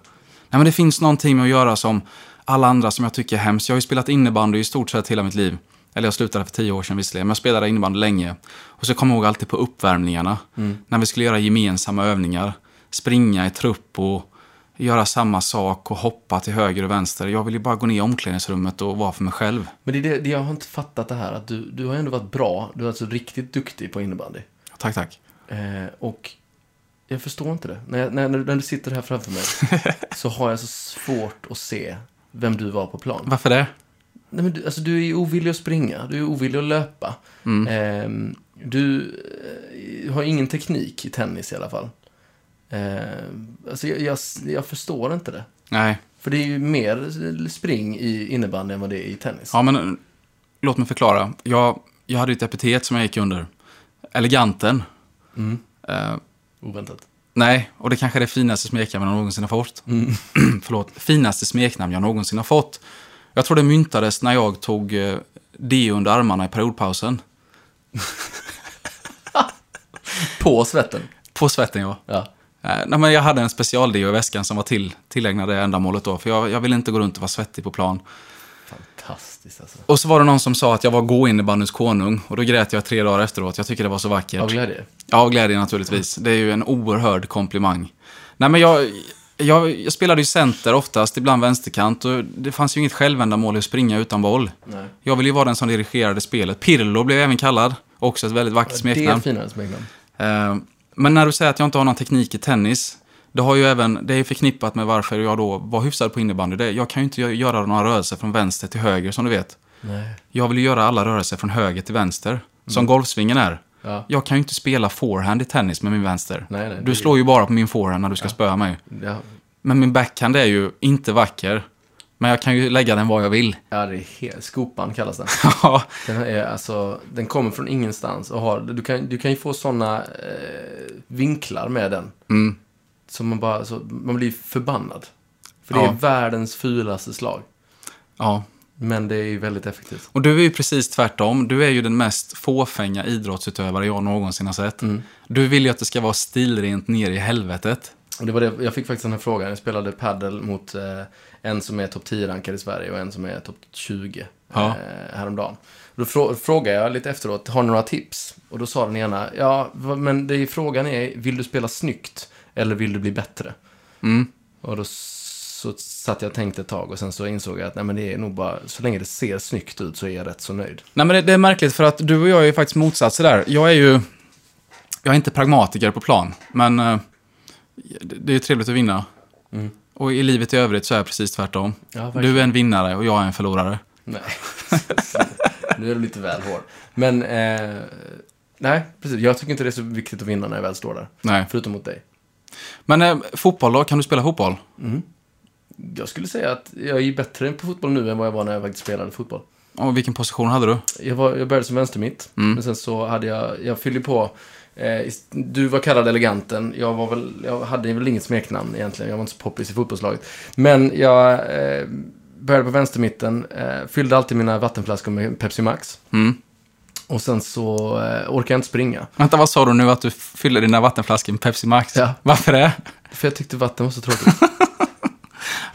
B: men det finns någonting med att göra som alla andra som jag tycker är hemskt. Jag har ju spelat innebandy i stort sett hela mitt liv. Eller jag slutade för tio år sedan visserligen, men jag spelade innebandy länge. Och så kommer jag ihåg alltid på uppvärmningarna, när vi skulle göra gemensamma övningar. Springa i trupp och göra samma sak och hoppa till höger och vänster. Jag ville ju bara gå ner i omklädningsrummet och vara för mig själv.
A: Men det är det, det, jag har inte fattat det här att du, du har ändå varit bra, du är alltså riktigt duktig på innebandy.
B: Tack, tack.
A: Eh, och jag förstår inte det. När, jag, när, när du- när du sitter här framför mig så har jag så svårt att se vem du var på plan.
B: Varför det?
A: Nej, men du, alltså, du är ju ovillig att springa, du är ovillig att löpa. Ehm, du eh, har ingen teknik i tennis i alla fall. Ehm, alltså, jag, jag, jag förstår inte det.
B: Nej.
A: För det är ju mer spring i innebandy än vad det är i tennis.
B: Ja, men eh, låt mig förklara. Jag, jag hade ju ett epitet som jag gick under. Eleganten.
A: Mm.
B: Eh,
A: Oväntat.
B: nej, och det kanske är det finaste smeknamn jag någonsin har fått. Förlåt, finaste smeknamn jag någonsin har fått. Jag tror det myntades när jag tog eh, deo under armarna i periodpausen.
A: På svetten.
B: På svetten, ja.
A: Ja.
B: Eh, Nej, men jag hade en specialdeo i väskan som var till, tillägnad det ändamålet då, för jag, jag ville inte gå runt och vara svettig på plan.
A: Fantastiskt alltså.
B: Och så var det någon som sa att jag var gå-innebandyns konung, och då grät jag tre dagar efteråt. Jag tycker det var så vackert.
A: Av glädje.
B: Ja, och glädje naturligtvis. Det är ju en oerhörd komplimang. Nej, men jag, jag, jag spelade ju center oftast, ibland vänsterkant. Och det fanns ju inget självändamål i att springa utan boll.
A: Nej.
B: Jag ville ju vara den som dirigerade spelet. Pirlo blev jag även kallad. Också ett väldigt vackert
A: Det är
B: smeknamn.
A: finare smeknamn.
B: Eh, Men när du säger att jag inte har någon teknik i tennis, det, har ju även, det är ju förknippat med varför jag då var hyfsad på innebandy. Det, jag kan ju inte gö- göra några rörelser från vänster till höger som du vet.
A: Nej.
B: Jag vill ju göra alla rörelser från höger till vänster, som golfsvingen är.
A: Ja.
B: Jag kan ju inte spela forehand i tennis med min vänster.
A: Nej, nej,
B: du
A: det-
B: slår ju bara på min forehand när du ska spöa mig.
A: Ja.
B: Men min backhand är ju inte vacker, men jag kan ju lägga den var jag vill.
A: ja, det är helt... Skopan kallas den.
B: Ja,
A: Den, här är, alltså, den kommer från ingenstans och har... Du kan, du kan ju få sådana eh, vinklar med den.
B: mm.
A: Så man bara... Så, man blir förbannad. För det
B: Ja.
A: är världens fulaste slag.
B: ja.
A: Men det är ju väldigt effektivt.
B: Och du är ju precis tvärtom. Du är ju den mest fåfänga idrottsutövare jag någonsin har sett.
A: Mm.
B: Du vill ju att det ska vara stilrent ner i helvetet.
A: Och det var det, jag fick faktiskt den här frågan. Jag spelade padel mot eh, en som är topp 10-rankad i Sverige och en som är topp 20
B: Ja.
A: eh, häromdagen. Och då frå, frågade jag lite efteråt, har ni några tips? Och då sa den ena, ja, va- men det är, frågan är, vill du spela snyggt eller vill du bli bättre?
B: Mm.
A: Och då så satt jag och tänkte ett tag och sen så insåg jag att nej, men det är nog bara, så länge det ser snyggt ut så är jag rätt så nöjd.
B: Nej, men det, det är märkligt för att du och jag är ju faktiskt motsatser där. Jag är ju... Jag är inte pragmatiker på plan, men eh, det, det är ju trevligt att vinna.
A: Mm.
B: Och i livet i övrigt så är jag precis tvärtom.
A: Ja, verkligen.
B: du är en vinnare och jag är en förlorare.
A: Nej. nu är du lite väl hård. Men, eh, nej, precis. Jag tycker inte det är så viktigt att vinna när jag väl står där.
B: Nej.
A: Förutom mot dig.
B: Men eh, fotboll då? Kan du spela fotboll?
A: Jag skulle säga att jag är bättre på fotboll nu än vad jag var när jag faktiskt spelade fotboll.
B: Och vilken position hade du?
A: Jag, var, jag började som vänstermitt, men sen så hade jag, jag fyllde på. Eh, ist- du var kallad eleganten, jag, var väl, jag hade väl inget smeknamn egentligen, jag var inte så poppis i fotbollslaget. Men jag eh, började på vänstermitten, eh, fyllde alltid mina vattenflaskor med Pepsi Max.
B: Mm.
A: Och sen så eh, orkade jag inte springa.
B: Vänta, vad sa du nu att du fyller dina vattenflaskor med Pepsi Max?
A: Ja.
B: Varför det?
A: För jag tyckte vatten var så tråkigt.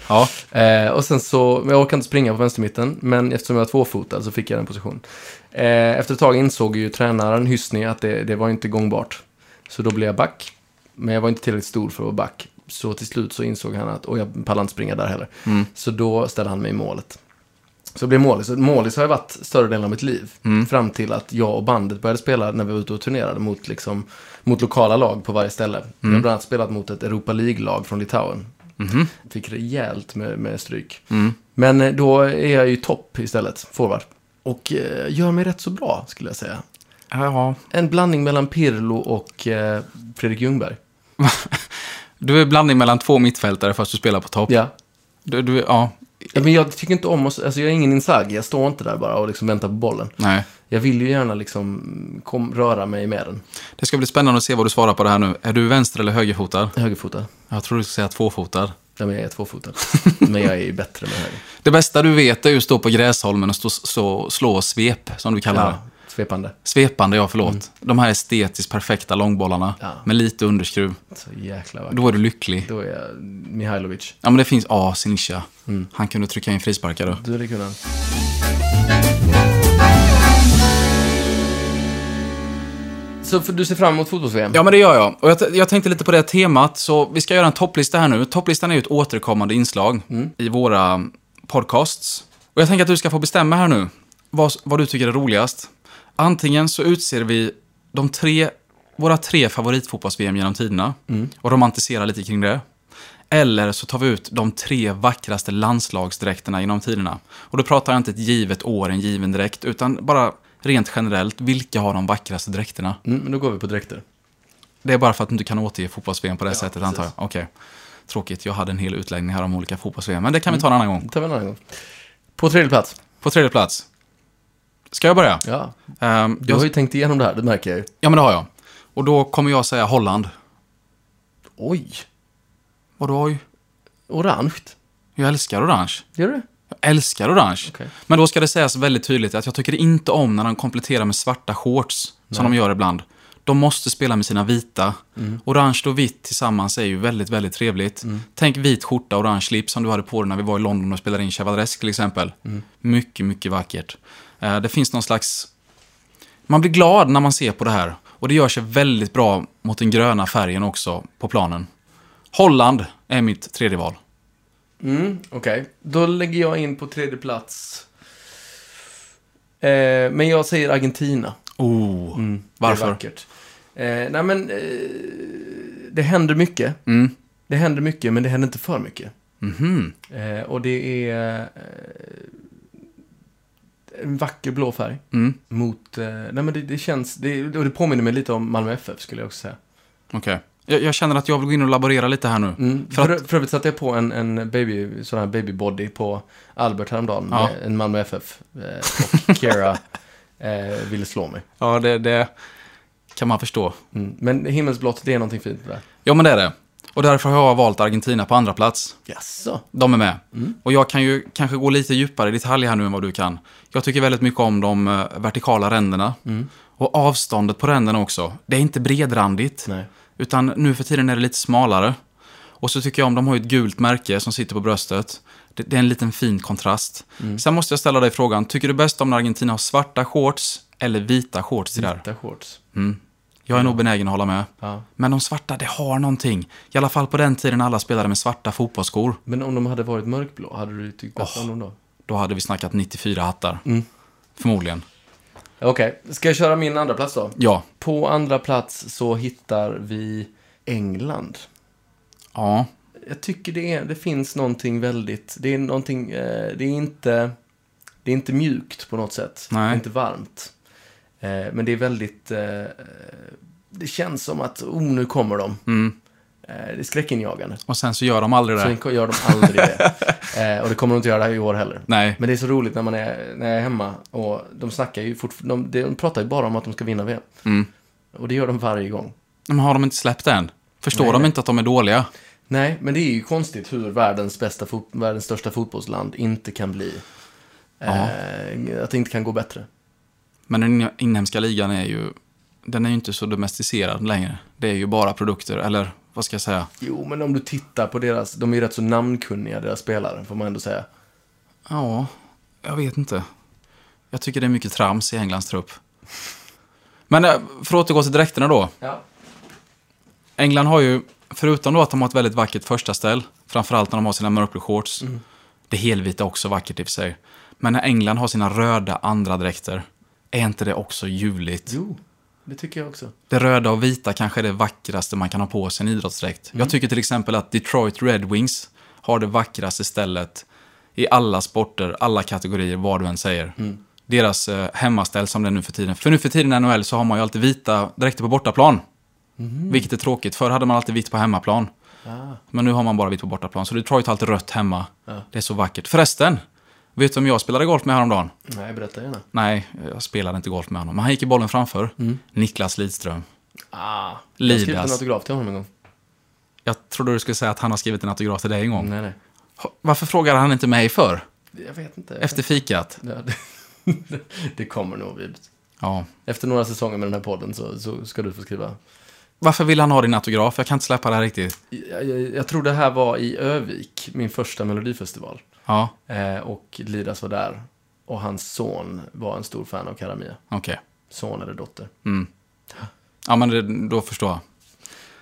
B: Ja.
A: eh, och sen så, men jag orkade inte springa på vänstermitten, men eftersom jag var tvåfotad så fick jag den positionen. Eh, efter ett tag insåg ju tränaren Hyssny att det, det var inte gångbart. Så då blev jag back, men jag var inte tillräckligt stor för att vara back. Så till slut så insåg han att, och jag pallar inte springa där heller. Så då ställde han mig i målet. Så jag blev målis. Och Målis har jag varit större delen av mitt liv. Fram till att jag och bandet började spela när vi var ute och turnerade mot, liksom, mot lokala lag på varje ställe. Jag har bland annat spelat mot ett Europa League-lag från Litauen. Fick rejält med, med stryk. Men eh, då är jag ju topp istället, forward. Och eh, gör mig rätt så bra, skulle jag säga.
B: ja.
A: En blandning mellan Pirlo och eh, Fredrik Ljungberg.
B: Du är blandning mellan två mittfältare fast du spelar på topp.
A: Ja.
B: Du, du, ja.
A: ja. Men jag tycker inte om att... Alltså, jag är ingen Inzaghi. Jag står inte där bara och liksom väntar på bollen.
B: Nej.
A: Jag vill ju gärna liksom kom, röra mig med den.
B: Det ska bli spännande att se vad du svarar på det här nu. Är du vänster eller högerfotad?
A: Högerfotad.
B: Jag tror du ska säga tvåfotad.
A: Ja, men jag är tvåfotad. men jag är ju bättre med höger.
B: Det bästa du vet är ju att stå på Gräsholmen och stå, stå, slå svep, som du kallar det.
A: Ja, svepande.
B: Svepande, ja förlåt. De här estetiskt perfekta långbollarna
A: Mm. Ja.
B: med lite underskruv.
A: Så jäkla vackert.
B: Då är du lycklig.
A: Då är jag Mihailovic.
B: Ja, men det finns... Ja, Sinisha.
A: Mm.
B: Han kunde trycka in frisparkar då.
A: Du hade kunnat. Så för, du ser fram emot fotbolls-VM?
B: Ja, men det gör jag. Och jag, t- jag tänkte lite på det temat, så vi ska göra en topplista här nu. Topplistan är ju ett återkommande inslag i våra podcasts. Och jag tänker att du ska få bestämma här nu vad, vad du tycker är roligast. Antingen så utser vi de tre, våra tre favoritfotbolls-VM genom tiderna och romantiserar lite kring det. Eller så tar vi ut de tre vackraste landslagsdräkterna genom tiderna. Och då pratar jag inte ett givet år, en given dräkt, utan bara rent generellt, vilka har de vackraste dräkterna?
A: Mm, men då går vi på dräkter.
B: Det är bara för att du inte kan återge fotbolls-VM på det sättet
A: precis.
B: antar jag. Okej. Tråkigt, jag hade en hel utläggning här om olika fotbolls-VM, men det kan vi ta en annan gång.
A: Det tar vi en annan gång. På tredje plats.
B: På tredje plats. Ska jag börja?
A: Ja.
B: Ehm,
A: Du
B: jag,
A: har ju tänkt igenom det här, det märker jag ju.
B: ja, men det har jag. Och då kommer jag säga Holland.
A: Oj!
B: Vadå oj?
A: Orange.
B: Jag älskar orange.
A: Gör du?
B: Jag älskar orange.
A: Okej.
B: Men då ska det sägas väldigt tydligt att jag tycker inte om när de kompletterar med svarta shorts, som de gör ibland. De måste spela med sina vita.
A: Mm.
B: Orange och vitt tillsammans är ju väldigt, väldigt trevligt. Tänk vit skjorta, orange slips som du hade på dig när vi var i London och spelade in Chevaleresk till exempel.
A: Mm.
B: Mycket, mycket vackert. Eh, Det finns någon slags... Man blir glad när man ser på det här. Och det gör sig väldigt bra mot den gröna färgen också på planen. Holland är mitt tredje val.
A: Mm, Okej, då lägger jag in på tredje plats. Eh, men jag säger Argentina.
B: Oh,
A: Mm, Det är
B: varför?
A: vackert. Eh, nej, men eh, det händer mycket.
B: Mm.
A: Det händer mycket, men det händer inte för mycket.
B: Mhm.
A: Eh, och det är eh, en vacker blå färg.
B: Mm.
A: Mot, eh, nej men det, det känns, det, och det påminner mig lite om Malmö FF skulle jag också säga.
B: Okej. Jag, jag känner att jag vill gå in och laborera lite här nu.
A: Mm.
B: För
A: För, för, övrigt satte jag på en, en baby, sån här babybody på Albert häromdagen.
B: Ja.
A: med En Malmö FF. Eh, och Kira eh, ville slå mig.
B: Ja, det, det kan man förstå.
A: Mm. Men himmelsblått, det är någonting fint med det.
B: Ja, men det är det. Och därför har jag valt Argentina på andra plats.
A: Jaså?
B: De är med.
A: Mm.
B: Och jag kan ju kanske gå lite djupare i detalj här nu än vad du kan. Jag tycker väldigt mycket om de eh, vertikala ränderna. Och avståndet på ränderna också. Det är inte bredrandigt.
A: Nej.
B: Utan nu för tiden är det lite smalare. Och så tycker jag om, de har ju ett gult märke som sitter på bröstet. Det, det är en liten fin kontrast. Sen måste jag ställa dig frågan, tycker du bäst om när Argentina har svarta shorts eller vita shorts till det här?
A: Vita shorts.
B: Mm. Jag är nog benägen att hålla med.
A: Ja.
B: Men de svarta, det har någonting. I alla fall på den tiden alla spelade med svarta fotbollsskor.
A: Men om de hade varit mörkblå, hade du tyckt bättre om dem då?
B: Då hade vi snackat 94 hattar. Förmodligen.
A: Okej, ska jag köra min andra plats då?
B: Ja.
A: På andra plats så hittar vi England.
B: Ja.
A: Jag tycker det, är, det finns någonting väldigt, det är någonting, eh, det är inte, det är inte mjukt på något sätt.
B: Nej.
A: Det är inte varmt. Eh, men det är väldigt, eh, det känns som att, oh nu kommer de.
B: Mm.
A: Eh, det är skräckinjagande.
B: Och sen så gör de aldrig det.
A: Sen gör de aldrig det. Eh, och det kommer de inte göra i år heller.
B: Nej.
A: Men det är så roligt när man är, när jag är hemma och de snackar ju fortfarande, de, de pratar ju bara om att de ska vinna VM.
B: Mm.
A: Och det gör de varje gång.
B: Men har de inte släppt det än? Förstår
A: Nej,
B: de
A: nej.
B: inte att de är dåliga?
A: Nej, men det är ju konstigt hur världens, bästa fot- världens största fotbollsland inte kan bli... Eh, att det inte kan gå bättre.
B: Men den inhemska ligan är ju... Den är ju inte så domesticerad längre. Det är ju bara produkter, eller vad ska jag säga?
A: Jo, men om du tittar på deras... De är ju rätt så namnkunniga, deras spelare, får man ändå säga.
B: Ja, jag vet inte. Jag tycker det är mycket trams i Englands trupp. Men eh, för att återgå till dräkterna då.
A: Ja.
B: England har ju, förutom då att de har ett väldigt vackert första ställ, framförallt när de har sina mörkblå shorts. Det helvita är också vackert i och för sig. Men när England har sina röda andra dräkter, är inte det också ljuvligt?
A: Jo, det tycker jag också.
B: Det röda och vita kanske är det vackraste man kan ha på sig i en idrottsdräkt. Jag tycker till exempel att Detroit Red Wings har det vackraste stället i alla sporter, alla kategorier, vad du än säger. Deras eh, hemmaställ som det är nu för tiden. För nu för tiden i NHL så har man ju alltid vita dräkter på bortaplan. Vilket är tråkigt. Förr hade man alltid vitt på hemmaplan.
A: Ah.
B: Men nu har man bara vitt på bortaplan. Så Detroit har alltid rött hemma.
A: Ja.
B: Det är så vackert. Förresten, vet du om jag spelade golf med häromdagen?
A: Nej, berätta gärna.
B: Nej, jag spelade inte golf med honom. Men han gick i bollen framför. Niklas Lidström.
A: Ah. Jag
B: Lidas.
A: skrev en autograf till honom en gång.
B: Jag trodde du skulle säga att han har skrivit en autograf till dig en gång.
A: Nej, nej.
B: Ha- Varför frågar han inte mig för?
A: Jag vet inte.
B: Efter fikat?
A: Ja, det, det kommer nog. Vi-
B: Ja.
A: Efter några säsonger med den här podden så, så ska du få skriva.
B: Varför vill han ha din autograf? Jag kan inte släppa det här riktigt.
A: Jag, jag, jag tror det här var i Övik, min första melodifestival.
B: Ja,
A: Eh, och Lidas var där. Och hans son var en stor fan av Karamia.
B: okej.
A: Son eller dotter.
B: Mm. Ja, men det, då förstår jag.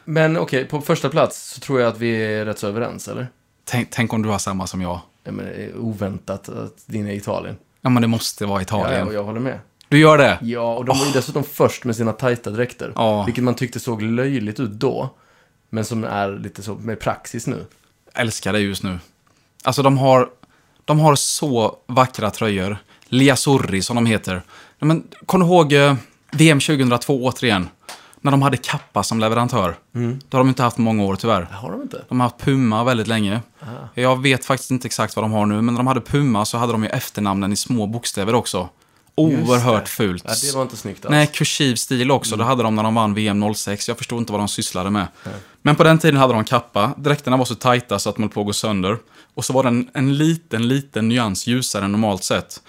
A: Men okej, på första plats så tror jag att vi är rätt så överens, eller?
B: Tänk, tänk om du har samma som jag.
A: Ja, men det är oväntat att din är Italien.
B: Ja, men det måste vara
A: Ja, ja,
B: Italien.
A: och jag håller med.
B: Du gör det?
A: Ja, och de var ju dessutom först med sina tajta dräkter.
B: Ja.
A: Vilket man tyckte såg löjligt ut då. Men som är lite så med praxis nu.
B: Älskar det just nu. Alltså, de har, de har så vackra tröjor. Liasurri, som de heter. Ja, Men, kom du ihåg eh, VM 2002 återigen? När de hade Kappa som leverantör.
A: Mm.
B: Det har de inte haft på många år tyvärr.
A: Det har de inte.
B: De har haft Puma väldigt länge.
A: Ah.
B: Jag vet faktiskt inte exakt vad de har nu, men när de hade Puma så hade de ju efternamnen i små bokstäver också. Oerhört fult.
A: Ja, det var inte snyggt alls.
B: Nej, kursiv stil också. Det hade de när de vann VM 06. Jag förstod inte vad de sysslade med. Men på den tiden hade de kappa. Dräkterna var så tajta så att de höll på att gå sönder. Och så var den en liten, liten nyans ljusare än normalt sett.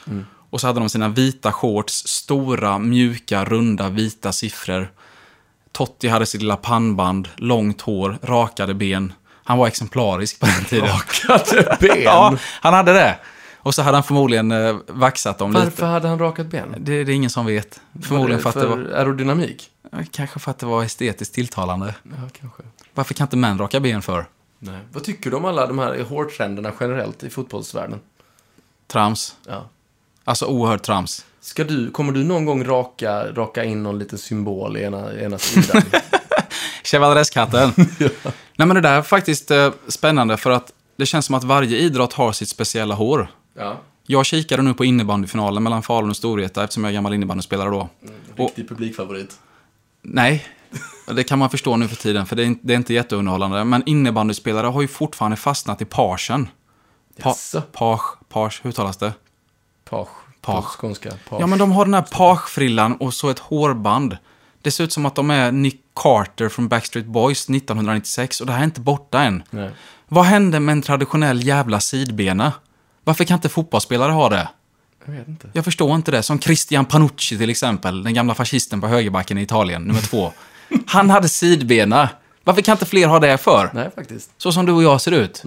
B: Och så hade de sina vita shorts, stora, mjuka, runda, vita siffror. Totti hade sitt lilla pannband, långt hår, rakade ben. Han var exemplarisk på den tiden.
A: Rakade ben.
B: Ja, han hade det. Och så hade han förmodligen eh, vaxat dem lite.
A: Varför hade han rakat ben?
B: Det, det är ingen som vet. Förmodligen för att det var...
A: aerodynamik?
B: Ja, Kanske för att det var estetiskt tilltalande.
A: Ja, kanske.
B: Varför kan inte män raka ben för?
A: Nej. Vad tycker du om alla de här hårtrenderna generellt i fotbollsvärlden?
B: Trams.
A: Ja.
B: Alltså oerhört trams.
A: Ska du, kommer du någon gång raka, raka in någon liten symbol i ena, i ena sidan?
B: Chevaleresskatten. Nej men det där är faktiskt eh, spännande för att det känns som att varje idrott har sitt speciella hår.
A: ja.
B: Jag kikade nu på innebandyfinalen mellan Falun och Storvreta eftersom jag är gammal innebandyspelare då.
A: Riktig publikfavorit.
B: Nej, det kan man förstå nu för tiden för det är, inte- det är inte jätteunderhållande. Men innebandyspelare har ju fortfarande fastnat i pagen. Pa,
A: Jaså?
B: page, page, hur talas det?
A: Page.
B: Page.
A: På skånska. Page.
B: Ja men de har den här pagefrillan och så ett hårband. Det ser ut som att de är Nick Carter från Backstreet Boys 1996 och det här är inte borta än.
A: Nej.
B: Vad hände med en traditionell jävla sidbena? Varför kan inte fotbollsspelare ha det?
A: Jag vet inte.
B: Jag förstår inte det. Som Christian Panucci till exempel, den gamla fascisten på högerbacken i Italien, nummer två. Han hade sidbena. Varför kan inte fler ha det för?
A: Nej, faktiskt.
B: Så som du och jag ser ut.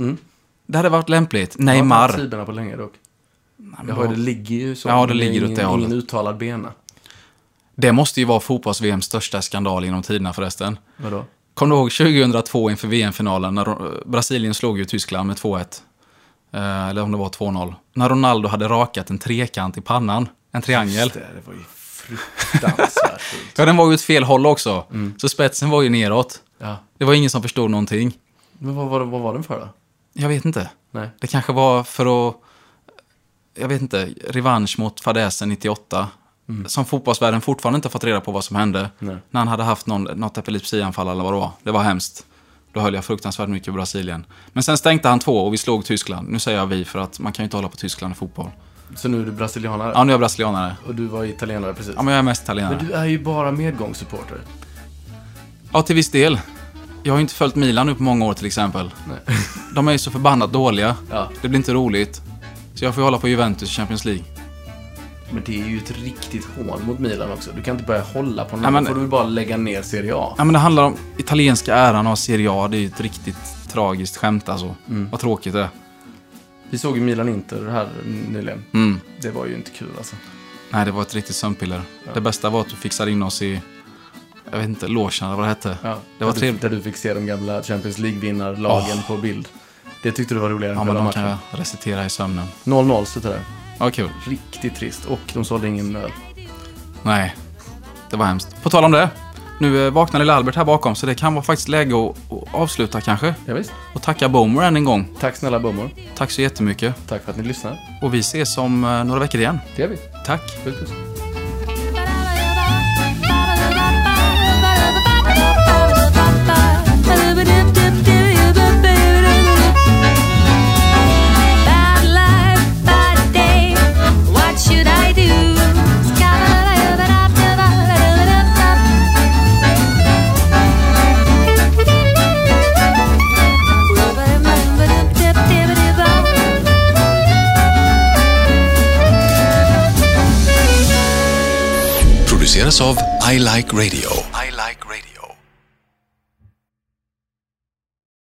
B: Det hade varit lämpligt.
A: Jag har
B: Neymar.
A: inte sidorna på länge dock.
B: men
A: Jag hör, det ligger ju så.
B: Ja, det
A: men är
B: ligger åt
A: ingen,
B: det hållet.
A: Ingen uttalad bena.
B: Det måste ju vara fotbolls-VMs största skandal genom tiderna förresten.
A: Vadå?
B: Kommer du ihåg 2002 inför VM-finalen när eh, Brasilien slog ju Tyskland med 2-1? Eh, Eller om det var 2-0. När Ronaldo hade rakat en trekant i pannan. En triangel.
A: Just det, det var ju fruktansvärt fult.
B: Ja, den var ju åt fel håll också.
A: Mm.
B: Så spetsen var ju neråt.
A: Ja.
B: Det var ingen som förstod någonting.
A: Men vad, vad, vad var den för då?
B: Jag vet inte.
A: Nej.
B: Det kanske var för att... Jag vet inte. Revansch mot fadäsen 98. Som fotbollsvärlden fortfarande inte har fått reda på vad som hände.
A: Mm. Nej.
B: När han hade haft någon, något epilepsianfall eller vad det var. Det var hemskt. Då höll jag fruktansvärt mycket på Brasilien. Men sen stängde han två och vi slog Tyskland. Nu säger jag vi för att man kan ju inte hålla på Tyskland i fotboll.
A: Så nu är du brasilianare?
B: Ja, nu är jag brasilianare.
A: Och du var italienare precis?
B: Ja, men jag är mest
A: men
B: italienare.
A: du är ju bara medgångssupporter.
B: Ja, till viss del. Jag har ju inte följt Milan nu på många år till exempel.
A: Nej.
B: De är ju så förbannat dåliga.
A: Ja.
B: Det blir inte roligt. Så jag får ju hålla på Juventus i Champions League.
A: Men det är ju ett riktigt hån mot Milan också. Du kan inte börja hålla på någon.
B: Nej, men-
A: Då får du väl bara lägga ner Serie A.
B: Ja, men det handlar om italienska äran av Serie A. Det är ju ett riktigt tragiskt skämt alltså.
A: Mm.
B: Vad tråkigt det är.
A: Vi såg ju Milan-Inter här nyligen.
B: Mm.
A: Det var ju inte kul alltså.
B: Nej, det var ett riktigt sömnpiller. Det bästa var att du fixade in oss i, jag vet inte, logen eller vad det hette.
A: Ja,
B: Det
A: där,
B: var
A: du,
B: trevligt.
A: där du fick se de gamla Champions League-vinnarlagen på bild. Det tyckte du var roligare än
B: Ja, men
A: själva
B: de kan jag
A: matchen.
B: recitera i sömnen.
A: 0-0 slutade det.
B: Ja, kul.
A: Riktigt trist. Och de sålde ingen öl.
B: Nej, det var hemskt. På tal om det. Nu eh, vaknar lilla Albert här bakom, så det kan vara faktiskt läge att, att avsluta kanske.
A: Ja, visst.
B: Och tacka Bomer än en gång.
A: Tack snälla bommor.
B: Tack så jättemycket.
A: Tack för att ni lyssnar.
B: Och vi ses om eh, några veckor igen.
A: Det gör vi.
B: Tack!
A: Puss puss.
C: Bad life, bad day. What should I do?
D: produceras av I Like Radio. I like radio.